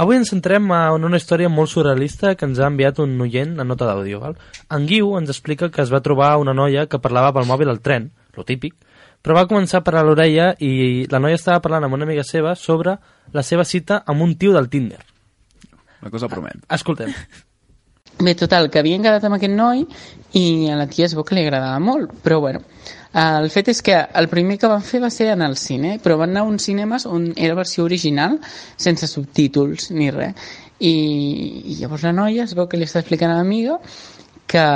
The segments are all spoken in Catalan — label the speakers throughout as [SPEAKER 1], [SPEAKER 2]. [SPEAKER 1] Avui ens centrem en una història molt surrealista que ens ha enviat un oient a nota d'àudio. val? En Guiu ens explica que es va trobar una noia que parlava pel mòbil al tren, lo típic, però va començar per a l'orella i la noia estava parlant amb una amiga seva sobre la seva cita amb un tio del Tinder.
[SPEAKER 2] La cosa promet.
[SPEAKER 1] Escoltem.
[SPEAKER 3] Bé, total, que havien quedat amb aquest noi i a la tia es veu que li agradava molt, però bueno, el fet és que el primer que van fer va ser anar al cine, però van anar a uns cinemes on era versió original, sense subtítols ni res, i, i llavors la noia es veu que li està explicant a l'amiga que,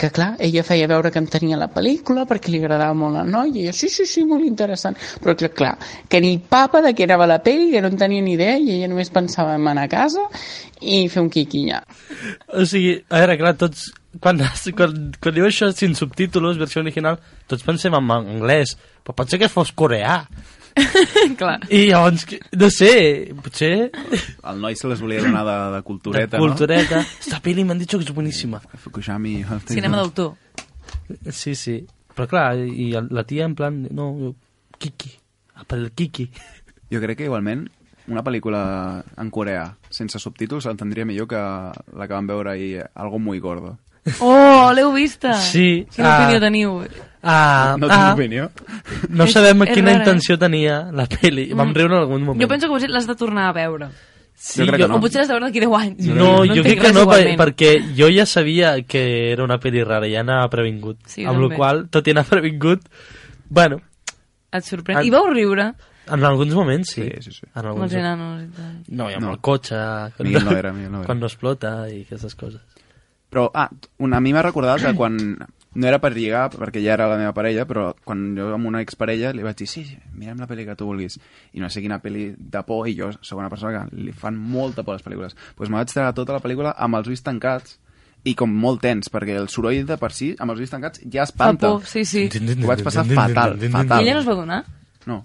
[SPEAKER 3] que clar, ella feia veure que entenia la pel·lícula perquè li agradava molt la noia, i jo, sí, sí, sí, molt interessant, però que, clar, que ni papa de què anava la pel·li, que no en tenia ni idea, i ella només pensava en anar a casa i fer un quiquinyà.
[SPEAKER 1] O sigui, a veure, clar, tots... Quan, quan, quan diu això sin subtítols, versió original, tots pensem en anglès, però pot ser que fos coreà.
[SPEAKER 4] Clar.
[SPEAKER 1] I llavors, que- no sé, potser...
[SPEAKER 2] El noi se les volia donar de, de cultureta,
[SPEAKER 1] de cultureta. No? Esta peli m'han dit que és boníssima.
[SPEAKER 2] no? Fukushami...
[SPEAKER 4] Cinema d'autor.
[SPEAKER 1] Sí, sí. Però clar, i el- la tia en plan... No, jo, Kiki. Ah, Per el Kiki.
[SPEAKER 2] Jo crec que igualment una pel·lícula en coreà sense subtítols entendria millor que la que vam veure ahir, Algo muy gordo.
[SPEAKER 4] Oh, l'heu vista!
[SPEAKER 1] Sí.
[SPEAKER 4] Quina
[SPEAKER 1] Ah.
[SPEAKER 4] opinió teniu?
[SPEAKER 1] Ah,
[SPEAKER 2] no tinc
[SPEAKER 1] ah,
[SPEAKER 2] opinió.
[SPEAKER 1] no
[SPEAKER 4] És-
[SPEAKER 1] sabem
[SPEAKER 4] és
[SPEAKER 1] quina
[SPEAKER 4] rara, eh?
[SPEAKER 1] intenció tenia la peli. Vam riure en algun moment.
[SPEAKER 4] Jo penso que potser l'has de tornar a veure.
[SPEAKER 1] sí,
[SPEAKER 2] Jo crec que
[SPEAKER 4] O potser l'has de veure d'aquí 10 anys.
[SPEAKER 1] No, jo
[SPEAKER 4] entenc
[SPEAKER 1] crec que
[SPEAKER 4] res
[SPEAKER 1] no, per,
[SPEAKER 4] igualment.
[SPEAKER 1] perquè jo ja sabia que era una peli rara, ja anava previngut.
[SPEAKER 4] Sí,
[SPEAKER 1] amb la
[SPEAKER 4] també.
[SPEAKER 1] qual cosa, tot i anar previngut, bueno,
[SPEAKER 4] Et sorprèn.
[SPEAKER 1] En-
[SPEAKER 4] I vau riure
[SPEAKER 1] en alguns moments sí.
[SPEAKER 2] Sí, sí, sí.
[SPEAKER 1] En
[SPEAKER 4] amb
[SPEAKER 1] alguns...
[SPEAKER 4] els enanos i tal.
[SPEAKER 1] No, i amb
[SPEAKER 2] No.
[SPEAKER 1] el cotxe... quan-
[SPEAKER 2] Miguel no era, Miguel no era.
[SPEAKER 1] Quan no explota i aquestes coses.
[SPEAKER 2] Però, ah, una, a mi m'ha recordat que quan... No era per lligar, perquè ja era la meva parella, però quan jo amb una exparella li vaig dir sí, sí, mirem la pel·li que tu vulguis. I no sé quina pel·li de por, i jo sóc una persona que li fan molta por a les pel·lícules. Doncs pues me vaig treure tota la pel·lícula amb els ulls tancats i com molt tens, perquè el soroll de per si, amb els ulls tancats, ja
[SPEAKER 4] Fa
[SPEAKER 2] espanta.
[SPEAKER 4] por, sí, sí. I
[SPEAKER 2] Ho vaig passar fatal, fatal.
[SPEAKER 4] ella no es va donar?
[SPEAKER 2] No.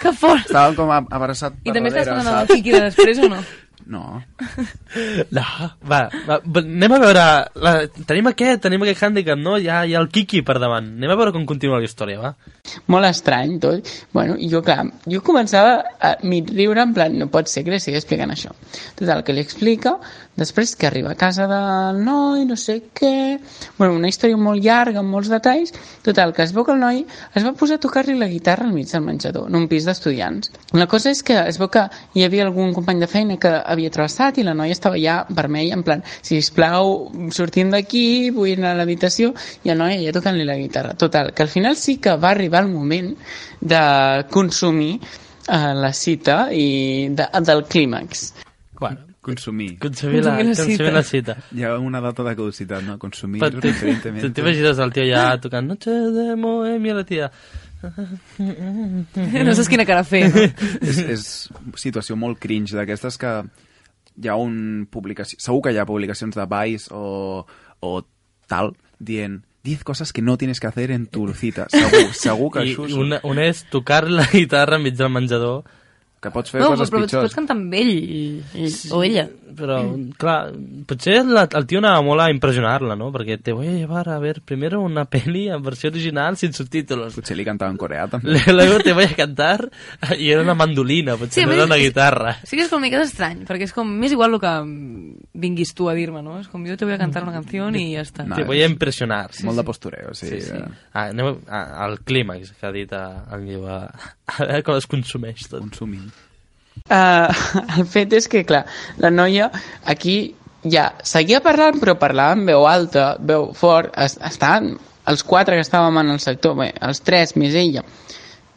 [SPEAKER 4] Que fort!
[SPEAKER 2] Estava com a- abraçat
[SPEAKER 4] I
[SPEAKER 2] per
[SPEAKER 4] també estàs
[SPEAKER 2] darrere,
[SPEAKER 4] donant el
[SPEAKER 2] saps?
[SPEAKER 4] Kiki de després o no?
[SPEAKER 2] No.
[SPEAKER 1] No, va, va, va, anem a veure... La, tenim aquest, tenim aquest hàndicap, no? Hi ha, hi ha el Kiki per davant. Anem a veure com continua la història, va?
[SPEAKER 3] molt estrany tot. Bueno, i jo, clar, jo començava a mig riure en plan, no pot ser que li estigui explicant això. Total, que li explica, després que arriba a casa del noi, no sé què... Bueno, una història molt llarga, amb molts detalls. Total, que es veu que el noi es va posar a tocar-li la guitarra al mig del menjador, en un pis d'estudiants. La cosa és que es veu que hi havia algun company de feina que havia travessat i la noia estava ja vermella, en plan, si us plau, sortim d'aquí, vull anar a l'habitació, i el noi ja tocant-li la guitarra. Total, que al final sí que va arribar el moment de consumir eh, la cita i de, del clímax.
[SPEAKER 1] Bueno,
[SPEAKER 2] Consumir.
[SPEAKER 1] concebir la,
[SPEAKER 4] Consumir la
[SPEAKER 1] concebir
[SPEAKER 4] cita.
[SPEAKER 1] la cita.
[SPEAKER 2] Hi ha una data de caducitat, no? Consumir
[SPEAKER 1] Però tu-
[SPEAKER 2] preferentemente.
[SPEAKER 1] tu T'imagines el tio ja tocant Noche de Moemia, la tia... Mhm.
[SPEAKER 4] No saps quina cara fer, no?
[SPEAKER 2] és, és situació molt cringe d'aquestes que hi ha un publicació... Segur que hi ha publicacions de Vice o, o tal dient 10 coses que no tienes que hacer en tu cita. Segur, segur que
[SPEAKER 1] I
[SPEAKER 2] això és...
[SPEAKER 1] una, una és tocar la guitarra enmig del menjador,
[SPEAKER 2] Que pots fer
[SPEAKER 4] No, però
[SPEAKER 2] coses
[SPEAKER 4] però
[SPEAKER 2] pitjors.
[SPEAKER 4] pots cantar amb ell i- o ella.
[SPEAKER 1] però, clar, potser la, el tio anava molt a impressionar-la, no? Perquè te voy a llevar a ver primero una peli en versió original sin subtítols.
[SPEAKER 2] Potser li cantava en coreà, també.
[SPEAKER 1] Luego te voy a cantar i era una mandolina, potser
[SPEAKER 4] Sí,
[SPEAKER 1] sí, no
[SPEAKER 4] a
[SPEAKER 1] era
[SPEAKER 4] més,
[SPEAKER 1] una
[SPEAKER 4] és-
[SPEAKER 1] guitarra.
[SPEAKER 4] Sí que és com una mica estrany, perquè és com més igual el que vinguis tu a dir-me, no? És com jo te voy a cantar una canció i ja està.
[SPEAKER 2] No,
[SPEAKER 1] Te voy a impressionar.
[SPEAKER 2] molt de postureo, sí.
[SPEAKER 1] Sí, sí.
[SPEAKER 2] eh,
[SPEAKER 1] Ah, anem a- a- al clímax que ha dit eh, el Guiu. A, a veure com es consumeix tot.
[SPEAKER 2] Consumir.
[SPEAKER 3] Uh, el fet és que, clar, la noia aquí ja seguia parlant, però parlava en veu alta, veu fort, es, estaven els quatre que estàvem en el sector, bé, els tres més ella,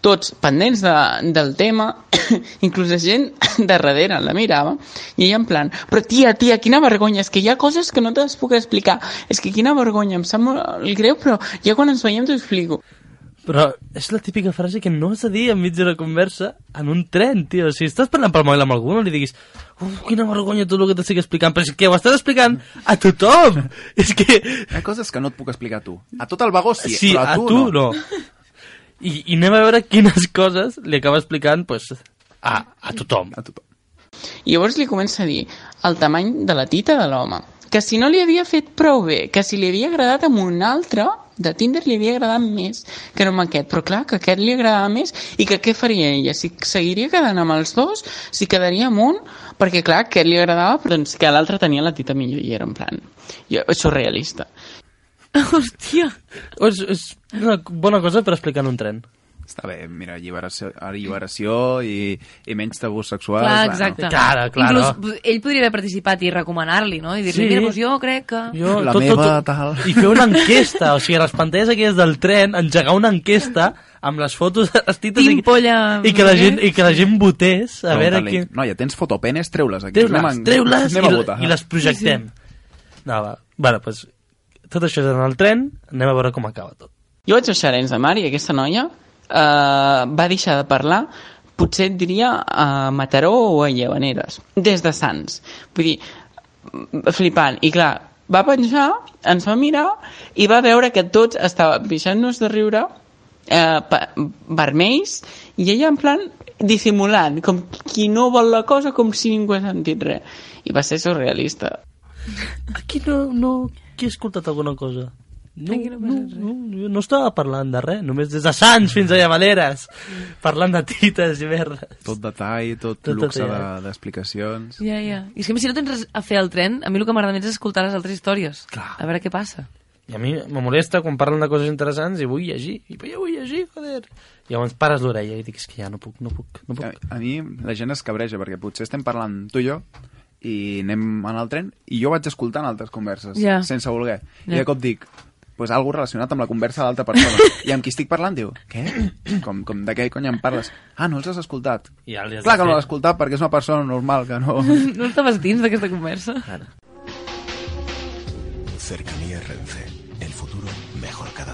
[SPEAKER 3] tots pendents de, del tema, inclús la gent de darrere la mirava, i ella en plan, però tia, tia, quina vergonya, és que hi ha coses que no te les puc explicar, és que quina vergonya, em sap molt greu, però ja quan ens veiem t'ho explico.
[SPEAKER 1] Però és la típica frase que no has de dir enmig d'una conversa en un tren, tio. Si estàs parlant pel mòbil amb algú, no li diguis uf, quina vergonya tot el que t'estic explicant, però és que ho estàs explicant a tothom. és que...
[SPEAKER 2] Hi ha coses que no et puc explicar a tu. A tot el vagó sí,
[SPEAKER 1] Sí, a
[SPEAKER 2] però
[SPEAKER 1] tu no. I, I anem a veure quines coses li acaba explicant pues, a, a tothom.
[SPEAKER 2] A tothom.
[SPEAKER 3] I llavors li comença a dir el tamany de la tita de l'home, que si no li havia fet prou bé, que si li havia agradat amb un altre, de Tinder li havia agradat més que no amb aquest, però clar, que aquest li agradava més i que què faria ella? Si seguiria quedant amb els dos, si quedaria amb un, perquè clar, aquest li agradava, però doncs que l'altre tenia la tita millor i era en plan, jo, és surrealista.
[SPEAKER 4] Hòstia!
[SPEAKER 1] És, és una bona cosa per explicar en un tren.
[SPEAKER 2] Està bé, mira, alliberació, alliberació i, i menys tabús sexuals.
[SPEAKER 4] Clar,
[SPEAKER 2] va,
[SPEAKER 4] exacte.
[SPEAKER 1] Claro, claro.
[SPEAKER 4] Inclús, pues, ell podria haver participat i recomanar-li, no? I dir-li,
[SPEAKER 1] Sí.
[SPEAKER 4] mira, doncs jo crec que...
[SPEAKER 1] Jo,
[SPEAKER 2] La meva, tal.
[SPEAKER 1] I fer una enquesta, o sigui, a les pantalles aquelles del tren, engegar una enquesta amb les fotos de les tites
[SPEAKER 4] Tinc
[SPEAKER 1] i,
[SPEAKER 4] polla- eh?
[SPEAKER 1] i, que la gent, i que la gent votés a veure
[SPEAKER 2] Preguntar-li,
[SPEAKER 1] qui...
[SPEAKER 2] No, ja tens fotopenes, treu-les aquí.
[SPEAKER 1] Treu-les,
[SPEAKER 2] Anem a-
[SPEAKER 1] treu-les
[SPEAKER 2] Anem a
[SPEAKER 1] i,
[SPEAKER 2] votar.
[SPEAKER 1] i les projectem. No, va. Bueno, pues, tot això és en el tren, anem a veure com acaba tot.
[SPEAKER 3] Jo vaig baixar a Arenys de Mar i aquesta noia eh, va deixar de parlar potser et diria a Mataró o a Llevaneres, des de Sants. Vull dir, mm, flipant. I clar, va penjar, ens va mirar i va veure que tots estàvem pixant-nos de riure, eh, pa- vermells, i ella en plan dissimulant, com qui no vol la cosa, com si ningú ha sentit res. I va ser surrealista.
[SPEAKER 1] Aquí no, no... Qui ha escoltat alguna cosa? No,
[SPEAKER 4] Aquí no
[SPEAKER 1] no,
[SPEAKER 4] passa
[SPEAKER 1] no, no, no estava parlant de res, només des de Sants fins a Llavaneres, parlant de tites i merdes.
[SPEAKER 2] Tot detall, tot,
[SPEAKER 1] Tot
[SPEAKER 2] luxe
[SPEAKER 1] detallat.
[SPEAKER 2] de- d'explicacions.
[SPEAKER 4] Ja, ja. I és que a mi, si no tens res a fer al tren, a mi el que m'agrada més és escoltar les altres històries.
[SPEAKER 1] Clar.
[SPEAKER 4] A veure què passa.
[SPEAKER 1] I a mi me molesta quan parlen de coses interessants i vull llegir, i però ja vull llegir, joder. I llavors pares l'orella i dic, és que ja no puc, no puc, no
[SPEAKER 2] A,
[SPEAKER 1] puc.
[SPEAKER 2] a mi la gent es cabreja, perquè potser estem parlant tu i jo, i anem en el tren, i jo vaig escoltant altres converses,
[SPEAKER 4] Ja.
[SPEAKER 2] sense voler.
[SPEAKER 4] Ja.
[SPEAKER 2] I de cop dic, pues algo relacionat amb la conversa de l'altra persona. I amb qui estic parlant diu, què? Com, com de què cony em parles? Ah, no els has escoltat.
[SPEAKER 1] I ja li has
[SPEAKER 2] Clar
[SPEAKER 1] de
[SPEAKER 2] que no
[SPEAKER 1] fer.
[SPEAKER 2] l'has escoltat perquè és una persona normal que no...
[SPEAKER 4] No estaves dins d'aquesta conversa?
[SPEAKER 1] Ara.
[SPEAKER 5] Cercanía Renfe. El futuro mejor cada